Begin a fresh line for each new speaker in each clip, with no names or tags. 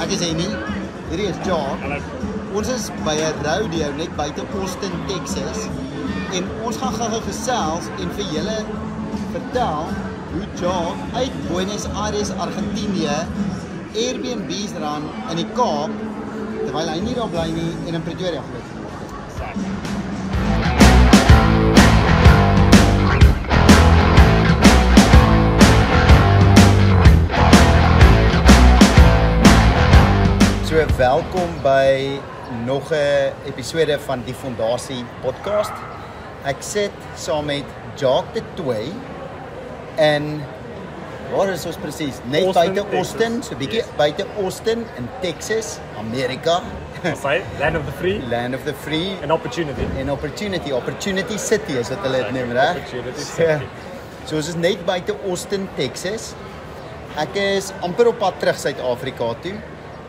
Ek is Henny. Hierdie is Jaar.
Hallo.
Ons is by 'n rodeo net buite Austin, Texas. En ons gaan gou-gou gesels en vir julle vertel hoe Jaar uit Buenos Aires, Argentinië Airbnb's ran in die Kaap terwyl hy nie daar bly nie en in Pretoria groot geword het. So welkom by nog 'n episode van die Fondasie podcast. Ek sit saam met Jacques de Tooy in waar is ons presies? Net
Austin,
buite Austin,
Texas.
so bietjie buite Austin in Texas, Amerika,
Ons sê land of the free
land of the free
and opportunity.
en opportunity, opportunity city is wat hulle dit noem, reg?
Opportunity
So,
City.
so ons is net buite Austin, Texas. Ek is amper op pad terug Suid-Afrika toe.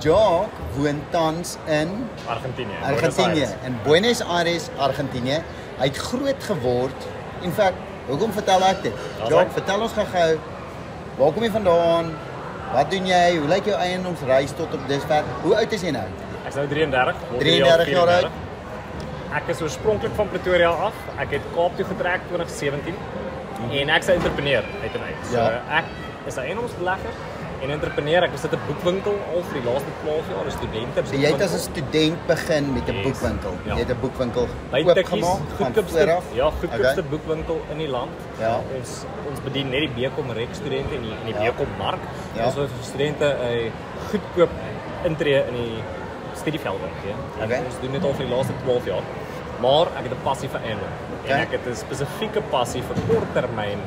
Jock woon tans in
Argentinië.
Argentinië, in Buenos Aires, Argentinië. Hy het groot geword. In feite, hoekom vertel ek dit?
Daar's
Jock,
hy.
vertel ons gou-gou. Waar kom jy vandaan? Wat doen jy? Hoe lyk jou eiendomsreis tot op dusver? Hoe oud is jy nou?
Ek's nou 33. word hierdie
33 jaar oud.
34. Ek is oorspronklik van Pretoria af. Ek het Kaap toe getrek 2017 en ek's 'n entrepreneur uit en uit. So
Ja.
ek is 'n eiendomsbelegger en entrepreneur. Ek besit 'n boekwinkel al vir die laaste 12 jaar. Dis studente.
So jy het as 'n student begin met 'n
Yes.
boekwinkel.
Ja.
Jy het 'n boekwinkel
Hy
oopgemaak van voor
goedkoopste
af.
ja, goedkoopste
Okay.
okay. boekwinkel in die land.
Ja.
Ons ons bedien net die Bekom Rek studente en die, en die
Ja.
ja. Bekom Mark.
Ja.
Ja. Ons wil vir studente 'n goedkoop intree in die studieveld wil gee. En
Okay.
Ons doen dit al vir die laaste 12 jaar. Maar ek het 'n passie vir eiendom. Okay.
Okay.
En ek het 'n spesifieke passie vir korttermyn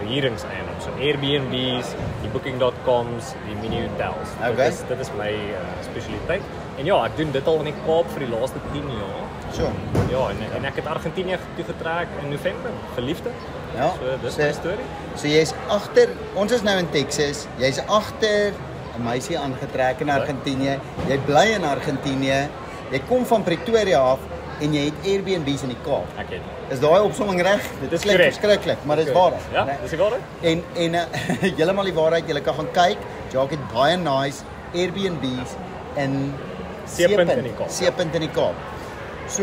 verhuuringseiendom. So Airbnbs, die booking.coms, die mini hotels.
Okay.
Dit is dit is my uh, spesialiteit. En ja, ek doen dit al in die Kaap vir die laaste 10 jaar.
So.
Ja, en, en ek het Argentinië toe getrek in November Dus, eh, vir liefde.
Ja.
So dis
so-
my storie.
So jy's agter, ons is nou in Texas. Jy's agter 'n meisie aangetrek
Ja.
in Argentinië. Jy bly in Argentinië. Jy kom van Pretoria af en jy het Airbnb's in die Kaap.
Ek het.
Is daai opsomming reg? Dit
Dis
klink
korrek.
verskriklik, maar dis waar. Nee.
Ja, dis die waarheid.
En en uh, heeltemal die waarheid, jy kan gaan kyk. Jacques het baie nice Airbnb's in
Seepunt in die
Seepunt-
Kaap. ja.
Seepunt in die Kaap. So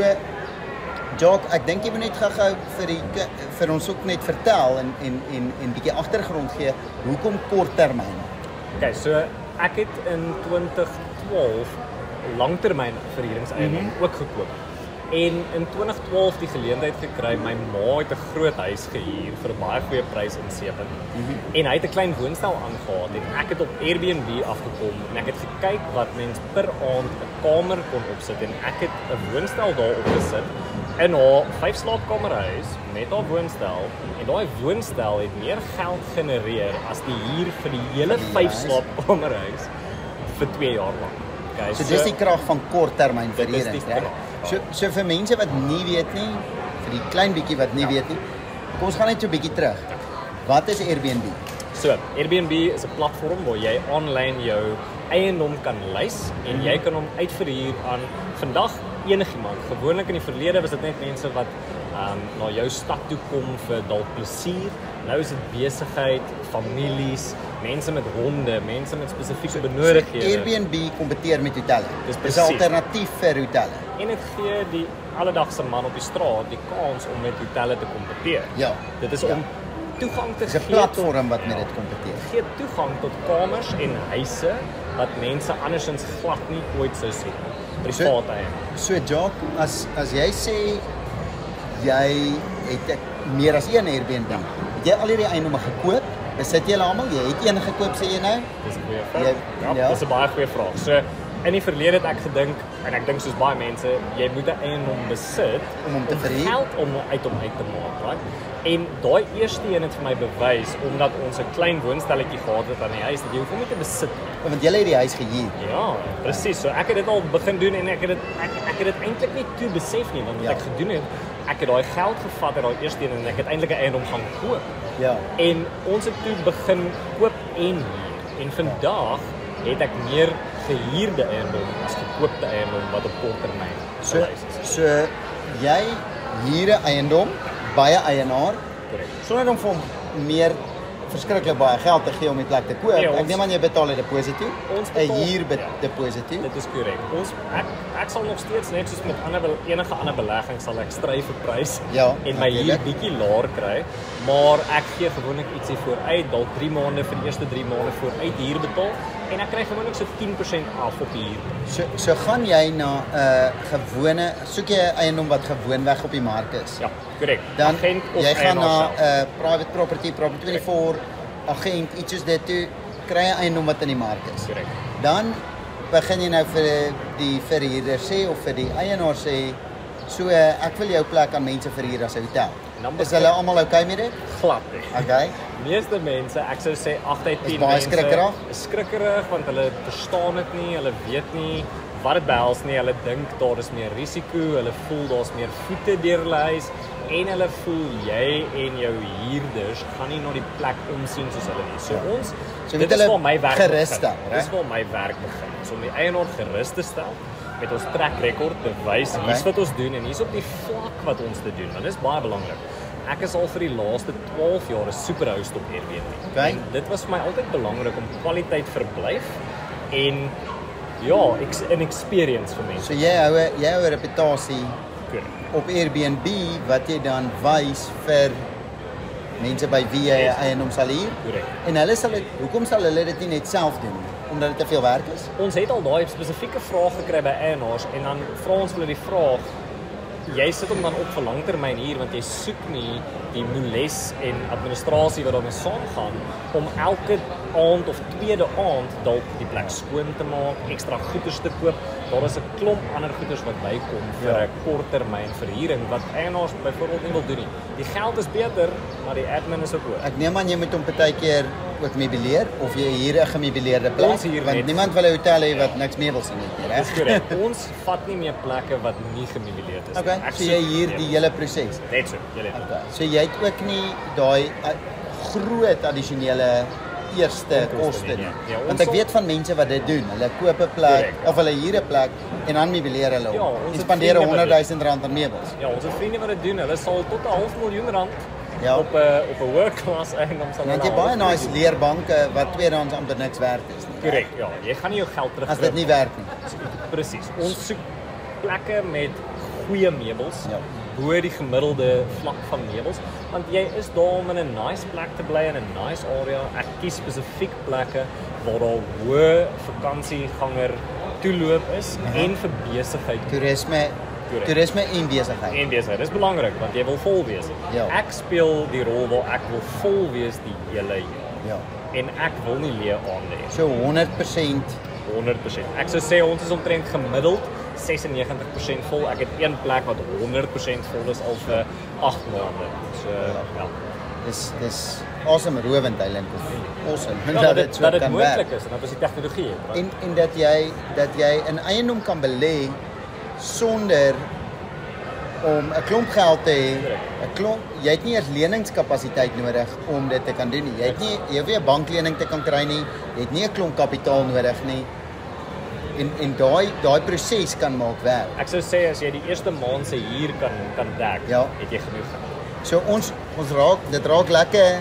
Jacques, ek dink jy moet net gou-gou vir die ki- vir ons ook net vertel en en en en bietjie agtergrond gee hoekom korttermyn.
Okay, so ek het in 2012 langtermyn verhuuringseiendom mm -hmm. ook gekoop. En in 2012 die geleentheid gekry, my ma het 'n groot huis gehuur vir 'n baie goeie prys in Seepunt. Mm -hmm. En hy het 'n klein woonstel aangehaal en ek het op Airbnb afgekom en ek het gekyk wat mens per aand 'n kamer kon opsit en ek het 'n woonstel daar opgesit in haar vyf slaapkamerhuis met haar woonstel en daai woonstel het meer geld genereer as die huur vir die hele
die
vyf
huis.
slaapkamerhuis vir 2 jaar lank. Okay,
So dis die krag van korttermyn
Dit is die
verhuuring, reg?
krag,
So
ja.
so vir mense wat nie weet nie, vir die klein bietjie wat
Ja.
nie weet nie, kom ons gaan net so 'n bietjie terug. Wat is Airbnb?
So, Airbnb is 'n platform waar jy aanlyn jou eiendom kan lys en jy
Mhm.
kan hom uitverhuur aan vandag enigiemand. Gewoonlik in die verlede was dit net mense wat ehm um, na jou stad toe kom vir dalk plesier. Nou is dit besigheid, families, mense met honde, mense met spesifieke benodighede.
Airbnb kompeteer met hotelle.
Dis
Dis 'n
presies.
alternatief vir hotelle.
en dit gee die alledaagse man op die straat die kans om met hotelle te kompeteer.
Ja.
Dit is
Ja.
om toegang te
Dis 'n
gee tot-
platform wat met dit kompeteer.
gee toegang tot kamers en huise wat mense andersins glad nie ooit sou sien nie. Privaat eiendom.
So Jock, as as jy sê jy het ek- meer as een Airbnb, het jy al hierdie eiendomme gekoop? Besit jy hulle almal? Jy het een gekoop sê jy nou?
Dis 'n goeie
Ja,
vraag. Ja,
ja.
dis 'n baie goeie vraag. So in die verlede het ek gedink en ek dink soos baie mense, jy moet 'n eiendom besit
Om hom te verhuur.
geld om uit hom uit te maak, right? En daai eerste een het vir my bewys omdat ons 'n klein woonstelletjie gehad het aan die huis, dat jy hoef hom nie te besit nie.
Want jy het die huis gehuur.
Ja, presies. So ek het dit al begin doen en ek het dit ek, ek het dit eintlik nie toe besef nie want wat
Ja.
ek gedoen het, ek het daai geld gevat uit daai eerste een en ek het eintlik 'n eiendom gaan koop.
Ja.
En ons het toe begin koop en huur. En vandag het ek meer gehuurde eiendom as gekoopte eiendom wat op kort termyn
So
gelys is.
so jy huur 'n eiendom by 'n eienaar
Korrek.
sonder om vir hom meer verskriklik baie geld te gee om die plek te koop.
Nee, ons-
Ek neem aan jy betaal 'n deposito.
Ons
'n
betaal-
huur
ja.
deposito.
Dit is korrek. Ons ek ek sal nog steeds net soos met ander bel- enige ander belegging sal ek stry vir prys
Ja,
en my huur
natuurlijk.
bietjie laer kry, maar ek gee gewoonlik ietsie vooruit, dalk 3 maande vir die eerste 3 maande vooruit huur betaal en ek kry gewoonlik so 10% af op die huur.
So so gaan jy na 'n gewone soek jy 'n eiendom wat gewoonweg op die mark is.
Ja, korrek.
Dan
Agent of
jy gaan na
eienaar
'n
self. Ja.
private property, property 24 agent iets soos dit toe kry 'n eiendom wat in die mark is.
korrek.
Dan begin jy nou vir die verhuurder sê of vir die eienaar sê so eh, ek wil jou plek aan mense verhuur as 'n hotel.
Dan
Is
begin-
hulle almal okay met dit?
Glad nie.
Okay.
Meeste mense, ek sou sê 8 uit 10
Is baie
mense
skrikkerig?
is skrikkerig want hulle verstaan dit nie, hulle weet nie wat dit behels nie. Hulle dink daar is meer risiko, hulle voel daar's meer voete deur hulle huis en hulle voel jy en jou huurders gaan nie na die plek omsien soos hulle nie. So
Ja.
ons
So moet
dit is
hulle
waar my werk
gerus
begin.
stel,
Dis
reg?
waar my werk begin. Is om die eienaar gerus te stel met ons trek rekord te wys
Okay.
hier's wat ons doen en hier's op die vlak wat ons te doen. Want dit is baie belangrik. Ek is al vir die laaste 12 jaar 'n superhost op Airbnb.
Okay.
En dit was vir my altyd belangrik om kwaliteit verblyf en ja, ek 'n experience vir mense.
So jy hou 'n- jy hou 'n reputasie
Korrek.
op Airbnb wat jy dan wys vir mense by wie jy 'n eiendom sal huur.
Korrek.
En hulle sal dit hoekom sal hulle dit nie net self doen nie? Omdat dit te veel werk is?
Ons het al daai spesifieke vraag gekry by eienaars en dan vra ons hulle die vraag jy sit hom dan op vir langtermyn hier want jy soek nie die moeles en administrasie wat daarmee saamgaan om elke aand of tweede aand dalk die plek skoon te maak, ekstra goederes te koop. Daar is 'n klomp ander goederes wat bykom vir
Ja.
'n korttermyn verhuuring wat eienaars byvoorbeeld nie wil doen nie. Die geld is beter, maar die admin is ook hoog.
Ek neem aan jy moet hom partykeer ook meubileer of jy huur 'n gemeubileerde plek
Ons huur
want
net-
niemand wil 'n hotel hê wat niks meubels in het nie,
Dis
reg?
korrek. Ons vat nie meer plekke wat nie gemeubileerd is nie.
Okay,
Ek
so
soek-
jy huur die
Ja.
hele proses.
Net so, jy het.
Okay. So jy het ook nie daai eh, groot addisionele eerste
Onkoste
koste
nie,
nie.
ja. Ja, ons
Want ek
sal-
weet van mense wat dit doen. Hulle koop 'n plek
Korrek.
of hulle huur 'n plek en dan meubileer hulle
Ja,
hom.
ons
en
het
spandeer
vriende wat
100 000 rand aan meubels.
Ja, ons vriende wat dit doen, hulle sal tot 'n half miljoen rand
Ja.
op 'n op 'n work class eiendom sal
Dan het jy
hulle
baie
half
nice
miljoen.
leerbanke wat tweedehands amper niks werd is nie.
Korrek, ja. Jy gaan nie jou geld terug
As dit nie werk nie.
presies. Ons soek plekke met goeie meubels.
Ja.
bo die gemiddelde vlak van meubels, want jy is daar om in 'n nice plek te bly in 'n nice area. Ek kies spesifiek plekke waar daar hoë vakansieganger toeloop is en vir besigheid
Toerisme
Korrek.
toerisme en besigheid.
en besigheid. Dis belangrik want jy wil vol wees.
Ja.
Ek speel die rol waar ek wil vol wees die hele jaar
Ja.
en ek wil nie leë aan lê nie.
So 100%
100%. Ek sou sê ons is omtrent gemiddeld 96% vol. Ek het een plek wat 100% vol is al vir 8 maande. So ja.
dis dis awesome rowend eiland. Dis Awesome.
ja
Ja, dat dit so
dat dit
kan werk.
moontlik is en dat is die tegnologie. right?
en en dat jy dat jy in eiendom kan belê sonder om 'n klomp geld te hê. 'n Klomp jy het nie eers leningskapasiteit nodig om dit te kan doen nie. Jy het nie jy hoef nie 'n banklening te kan kry nie. Jy het nie 'n klomp kapitaal nodig nie. En en daai daai proses kan maak werk.
Ek sou sê as jy die eerste maand se huur kan kan dek,
Ja.
het jy genoeg geld.
So ons ons raak dit raak lekker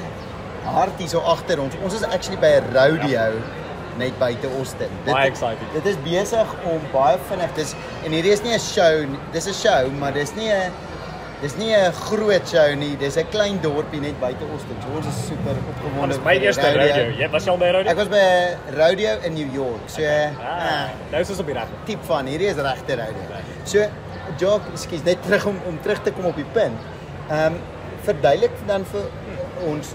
hard hier so agter ons. Ons is actually by 'n rodeo net buite Austin.
Ja. Baie exciting.
Dit is besig om baie vinnig. Dis en hierdie is nie 'n show, nie. dis 'n show, maar dis nie 'n dis nie 'n groot show nie. Dis 'n klein dorpie net buite Austin. So ons is super opgewonde.
Dit is my
vir die
eerste radio. Jy was jy al by radio?
Ek was by 'n rodeo in New York. So
Ah,
ah,
nou is ons op die reg.
tipe van hierdie is regte rodeo. So Jock, ekskuus, net terug om om terug te kom op die punt. Ehm um, verduidelik dan vir ons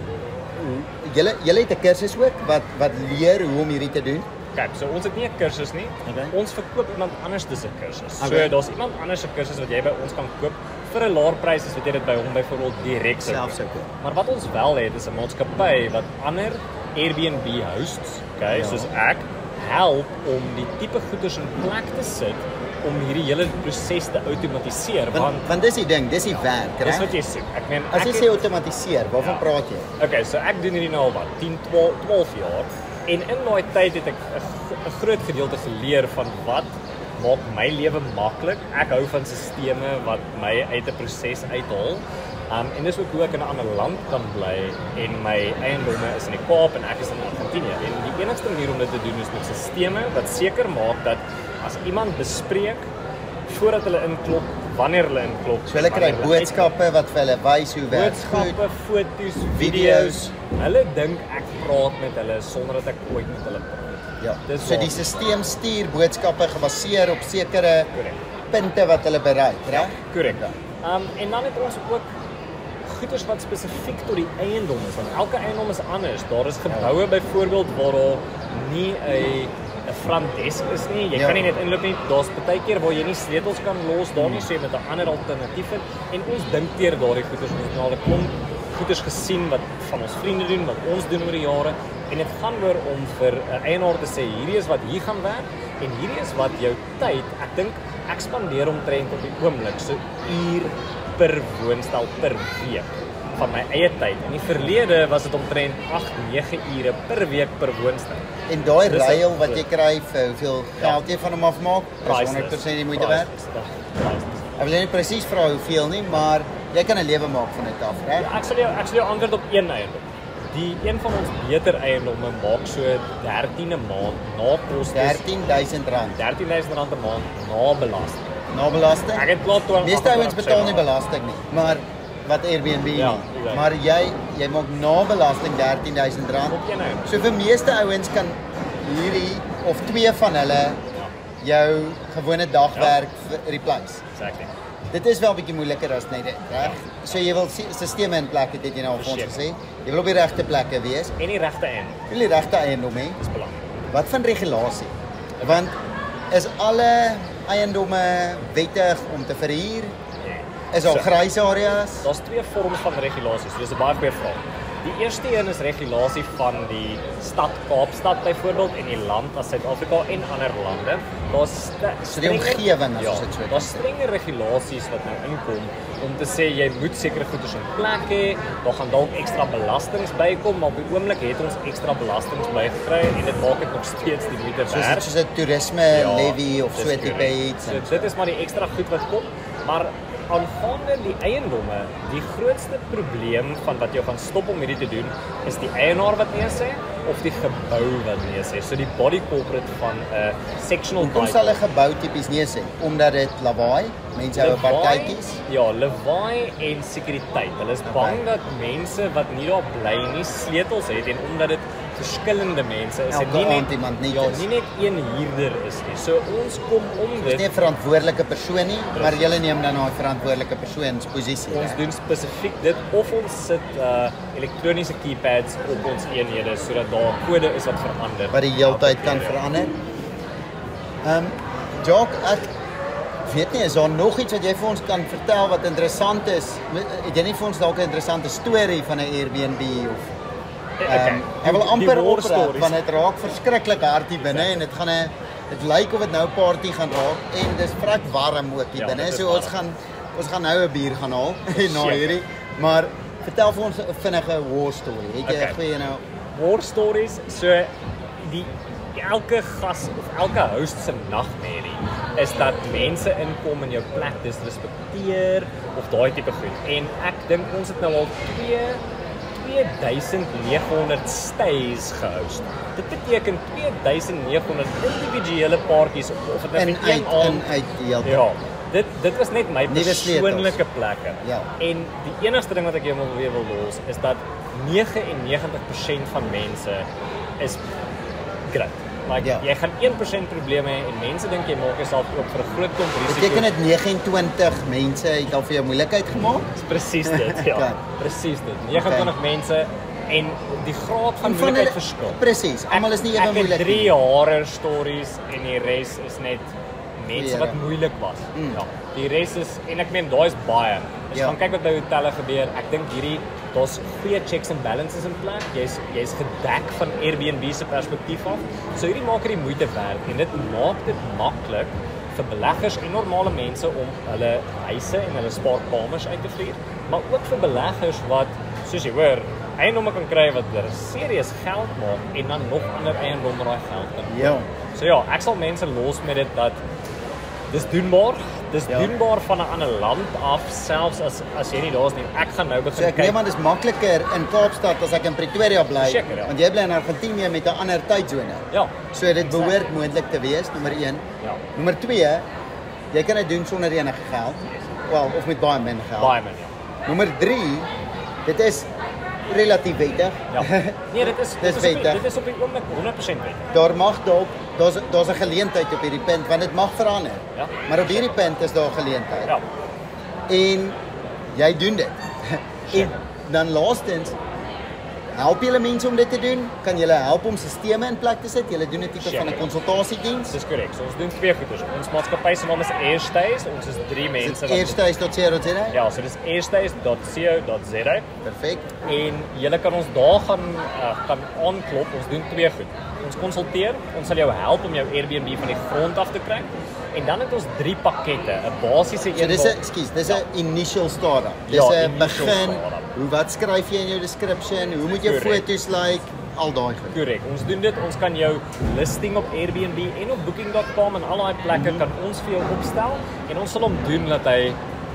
hoe- julle julle het 'n kursus ook wat wat leer hoe om hierdie te doen.
Kyk, so ons het nie 'n kursus nie.
Okay.
Ons verkoop iemand anders dis 'n kursus.
Okay.
So daar's iemand anders se kursus wat jy by ons kan koop vir 'n laer prys as wat jy dit by hom byvoorbeeld direk sou
Self sou koop.
Maar wat ons wel het is 'n maatskappy wat ander Airbnb hosts, okay,
Ja.
soos ek, help om die tipe goederes in plek te sit om hierdie hele proses te outomatiseer
Want
want
want dis die ding, dis die werk,
dis wat
reg?
jy soek. Ek meen
As
ek
jy
het-
sê outomatiseer, waarvan
Ja.
praat jy?
Okay, so ek doen hierdie nou al wat 10, 12, 12 jaar en in daai tyd het ek 'n g- 'n groot gedeelte geleer van wat maak my lewe maklik. Ek hou van sisteme wat my uit 'n proses uithaal Um en dis ook hoe ek in 'n ander land kan bly en my eiendomme is in die Kaap en ek is in Argentinië. En die enigste manier om dit te doen is met sisteme wat seker maak dat as iemand bespreek voordat hulle inklop, wanneer hulle inklop,
So hulle kry
wanneer
boodskappe wat vir hulle wys hoe werk goed.
Ja, boodskappe, foto's,
Video's.
video's. Hulle dink ek praat met hulle sonder dat ek ooit met hulle praat.
Ja.
Dis
So
waar.
die stelsel stuur boodskappe gebaseer op sekere
Korrek.
punte wat hulle bereik, reg?
Korrek. Um en dan het ons ook goeders wat spesifiek tot die eiendom is want elke eiendom is anders. Daar is geboue byvoorbeeld waar daar nie 'n 'n frontdesk is nie. Jy
Ja.
kan nie net inloop nie. Daar's baie keer waar jy nie sleutels kan los daar nie, so jy met 'n ander alternatief in. En ons dink teer daardie goeders ons het al 'n klomp goeders gesien wat van ons vriende doen, wat ons doen oor die jare en dit gaan oor om vir 'n eienaar te sê hierdie is wat hier gaan werk en hierdie is wat jou tyd, ek dink ek spandeer omtrent op die oomblik so uur per woonstel per week van my eie tyd. In die verlede was dit omtrent 8, 9 ure per week per woonstel.
En daai
Dis Ja. 'n
ruil wat jy
goed.
kry vir hoeveel geld jy van hom afmaak, is
Priceless.
100% die moeite werd.
Priceless, ja, priceless.
Ek wil nie presies vra hoeveel nie, maar jy kan 'n lewe maak van dit af, reg?
Ja, ek sal jou ek sal jou antwoord op een eiendom. Die een van ons beter eiendomme maak so 13 'n maand na kostes
R13000
Ja. R13000 'n maand na belasting.
na belasting.
Ek het klaar 20
Meeste ouens betaal nie belasting nie, maar wat Airbnb
Ja,
nie.
exact.
Maar jy jy maak na belasting R13000.
Op een eiendom.
So vir meeste ouens kan hierdie of twee van hulle
Ja,
jou gewone dagwerk ja. replace.
exactly.
Dit is wel bietjie moeiliker as net nee, dit, reg? So jy wil sy- sisteme in plek hê, dit het jy nou al vir ons gesê.
Verseker.
Jy wil op die regte plekke wees.
En die regte eiendom
Jy wil die regte eiendom hê.
is belangrik.
Wat van regulasie? Want is alle eiendomme wettig om te verhuur?
Ja.
Is daar
So,
grys areas?
Daar's twee vorms van regulasies. So dis 'n baie goeie vraag. Die eerste een is regulasie van die stad Kaapstad byvoorbeeld en die land as Suid-Afrika en ander lande. Daar's st-
So die
strenger-
omgewing, as
ja,
ons dit so kan
Daar's
sê.
strenge regulasies wat nou inkom om te sê jy moet sekere goederes in plek hê. Daar gaan dalk ekstra belastings bykom, maar op die oomblik het ons ekstra belastings bygekry en dit maak dit nog steeds die moeite
Soos
werd.
soos 'n toerisme levy of
Ja, dis
so tipe
korrek.
iets.
So dit is maar die ekstra goed wat kom, maar aangaande die eiendomme, die grootste probleem van wat jou gaan stop om hierdie te doen, is die eienaar wat nee sê of die gebou wat nee sê. So die body corporate van 'n sectional
Hoekom sal 'n gebou tipies nee sê? Omdat dit lawaai, mense hou 'n
Lawaai-
partytjies.
Ja, lawaai en sekuriteit. Hulle is bang dat mense wat nie daar bly nie sleutels het en omdat dit verskillende mense is en
Elke
nie
aand iemand nie
ja,
is.
nie net een huurder is nie. So ons kom om
Dis
dit
nie 'n verantwoordelike persoon nie, maar jy neem dan daai verantwoordelike persoon se posisie.
Ons doen spesifiek dit of ons sit uh elektroniese keypads op ons eenhede sodat daar kode is wat verander.
wat die heeltyd kan verander. Ehm um, Jock, ek weet nie, is daar nog iets wat jy vir ons kan vertel wat interessant is? Het jy nie vir ons dalk 'n interessante storie van 'n Airbnb of
Ja,
Ehm ek wil amper opreg want dit raak verskriklik hard hier binne en dit gaan 'n dit lyk of dit nou 'n party gaan raak en dis vrek warm ook hier
Ja,
binne.
dit is
So ons
warm.
gaan ons gaan nou 'n bier gaan haal na
Seker.
hierdie. Maar vertel vir ons 'n vinnige war story. Het jy 'n
Okay.
goeie nou?
war stories. So die elke gas of elke host se nagmerrie is dat mense inkom en jou plek disrespekteer of daai tipe goed. En ek dink ons het nou al 2 2900 stays gehost. Dit beteken 2900 individuele paartjies of of dit nou
In
vir
uit
een aand
in uit die hele tyd.
Ja, dit dit was net my
Nuwe sleutels.
persoonlike plekke.
Ja.
En die enigste ding wat ek jou wil weer wil los is dat 99% van mense is grit. Like
Ja.
jy gaan 1% probleme hê en mense dink jy maak jouself oop vir 'n groot klomp risiko.
Beteken dit 29 mense het al vir jou moeilikheid gemaak?
Dis presies dit. Ja.
Okay.
Presies dit. 29
Okay.
mense en die graad van
En van
moeilikheid
hulle-
verskil.
Presies, almal is nie ewe moeilik
Ek het
nie.
drie horror stories en die res is net mense
Goeie
wat
Here.
moeilik was.
Mm.
Ja. Die res is en ek meen daai is baie. As jy
Ja.
gaan kyk wat by hotelle gebeur, ek dink hierdie daar's goeie checks and balances in plek. Jy's jy's gedek van Airbnb se perspektief af. So hierdie maak hierdie moeite werd en dit maak dit maklik vir beleggers en normale mense om hulle huise en hulle spaarkamers uit te vlieg, maar ook vir beleggers wat soos jy hoor eiendomme kan kry wat hulle serieus geld maak en dan nog ander eiendomme daai geld kan
Ja.
So ja, ek sal mense los met dit dat dis doenbaar. Dis
Ja.
ja. doenbaar van 'n ander land af selfs as as jy nie daar's nie. Ek gaan nou begin
So ek
kyk.
neem aan dis makliker in Kaapstad as ek in Pretoria bly,
Seker, ja.
want jy bly in Argentinië met 'n ander tydsone.
ja.
So dit behoort moontlik te wees, nommer 1.
Ja.
Nommer 2, jy kan dit doen sonder enige geld. Wel, of met baie min geld.
Baie min. Ja.
Nommer 3, dit is relatief wettig.
Ja. Nee, dit is
Dis
dit is, op die,
wettig.
dit is op die oomblik 100% wettig.
Daar mag dalk daar's daar's 'n geleentheid op hierdie punt want dit mag verander.
Ja.
Maar op hierdie punt is daar 'n geleentheid.
Ja.
En jy doen dit. en
Seker.
dan laastens help julle mense om dit te doen? Kan julle help om sisteme in plek te sit? Julle doen 'n tipe van 'n
Seker.
konsultasiediens.
Dis korrek. So ons doen twee goeders. Ons maatskappy se naam is Airstays. Ons is drie mense wat
Eerste is tot seker dit.
Ja, so dis airstays.co.za.
Perfek.
en julle kan ons daar gaan uh, kan aanklop. Ons doen twee goed. Ons konsulteer, ons sal jou help om jou Airbnb van die grond af te kry. En dan het ons drie pakkette, 'n basiese
So
een
dis 'n
waar-
skus, dis 'n initial startup. Dis
Ja,
'n
initial
begin.
startup.
Hoe wat skryf jy in jou description? Hoe moet jou
Korrek.
foto's lyk? Like, al daai goed.
korrek. Ons doen dit. Ons kan jou listing op Airbnb en op booking.com en al daai plekke
Mhm.
kan ons vir jou opstel en ons sal hom doen dat hy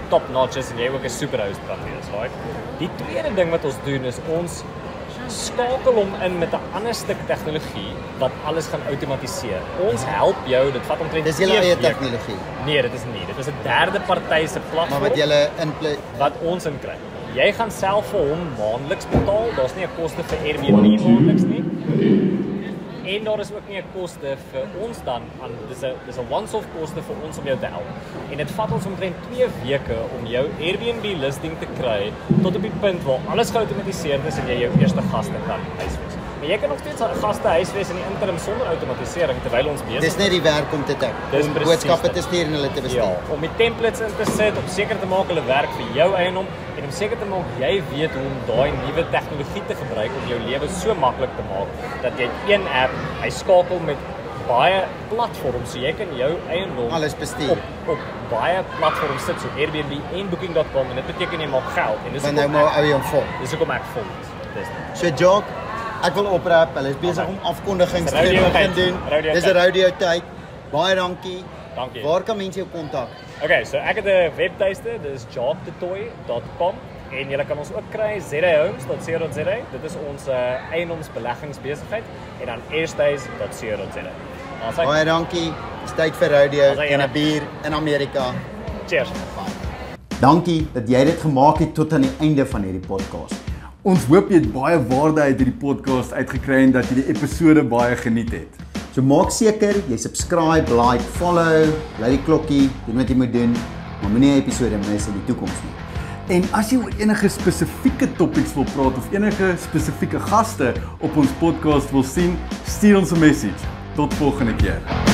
top notch is en jy ook 'n superhost kan wees, right? Die tweede ding wat ons doen is ons skakel hom in met 'n ander stuk tegnologie wat alles gaan outomatiseer. Ons help jou, dit vat omtrent
Dis julle
twee
eie
weke.
tegnologie,
Nee, dit is nie. Dit is 'n derde party se
maar
platform
wat julle in plek
wat ons in kry. Jy gaan self vir hom maandeliks betaal. Daar's nie 'n koste vir Airbnb maandeliks nie. En daar is ook nie 'n koste vir ons dan aan dis 'n dis 'n once-off koste vir ons om jou te help. En dit vat ons omtrent 2 weke om jou Airbnb listing te kry tot op die punt waar alles geautomatiseer is en jy jou eerste gaste kan huisves. Maar jy kan nog steeds gaste huisves in die interim sonder outomatisering terwyl ons besig
Dis net die werk om te tik.
Dis
Om
presies
boodskappe
dit.
te stuur en hulle te
Ja,
bestuur.
om die templates in te sit om seker te maak hulle werk vir jou eiendom en om seker te maak jy weet hoe om daai nuwe tegnologie te gebruik om jou lewe so maklik te maak dat jy het een app, hy skakel met baie platforms so jy kan jou eiendom
Alles bestuur.
op op baie platforms sit so Airbnb en booking.com en dit beteken jy maak geld en dis
Want nou
hoekom
maar
ek-
ou jou vol.
dis hoekom ek vol is. Dis dit.
So Jock, ek wil oprap. Hulle is besig
Alright.
om afkondigings
Dis radio
te
tyd.
doen.
Radio
Dis
tyd.
'n radio tyd. Baie dankie.
Dankie.
Waar kan mense jou kontak?
Okay, so ek het 'n webtuiste, dis jobtetoy.com en jy kan ons ook kry zhomes.co.za. Dit is ons uh, eiendomsbeleggingsbesigheid en dan eersdays.co.za. Ons sê
Baie dankie. Dis tyd vir radio
As hy
en
ene-
'n bier in Amerika.
cheers.
Dankie dat jy dit gemaak het tot aan die einde van hierdie podcast.
Ons hoop jy het baie waarde uit hierdie podcast uitgekry en dat jy die episode baie geniet het.
So maak seker jy subscribe, like, follow, laat die klokkie, doen wat jy moet doen, maar moenie 'n episode mis in die toekoms nie.
En as jy oor enige spesifieke topics wil praat of enige spesifieke gaste op ons podcast wil sien, stuur ons 'n message. Tot volgende keer.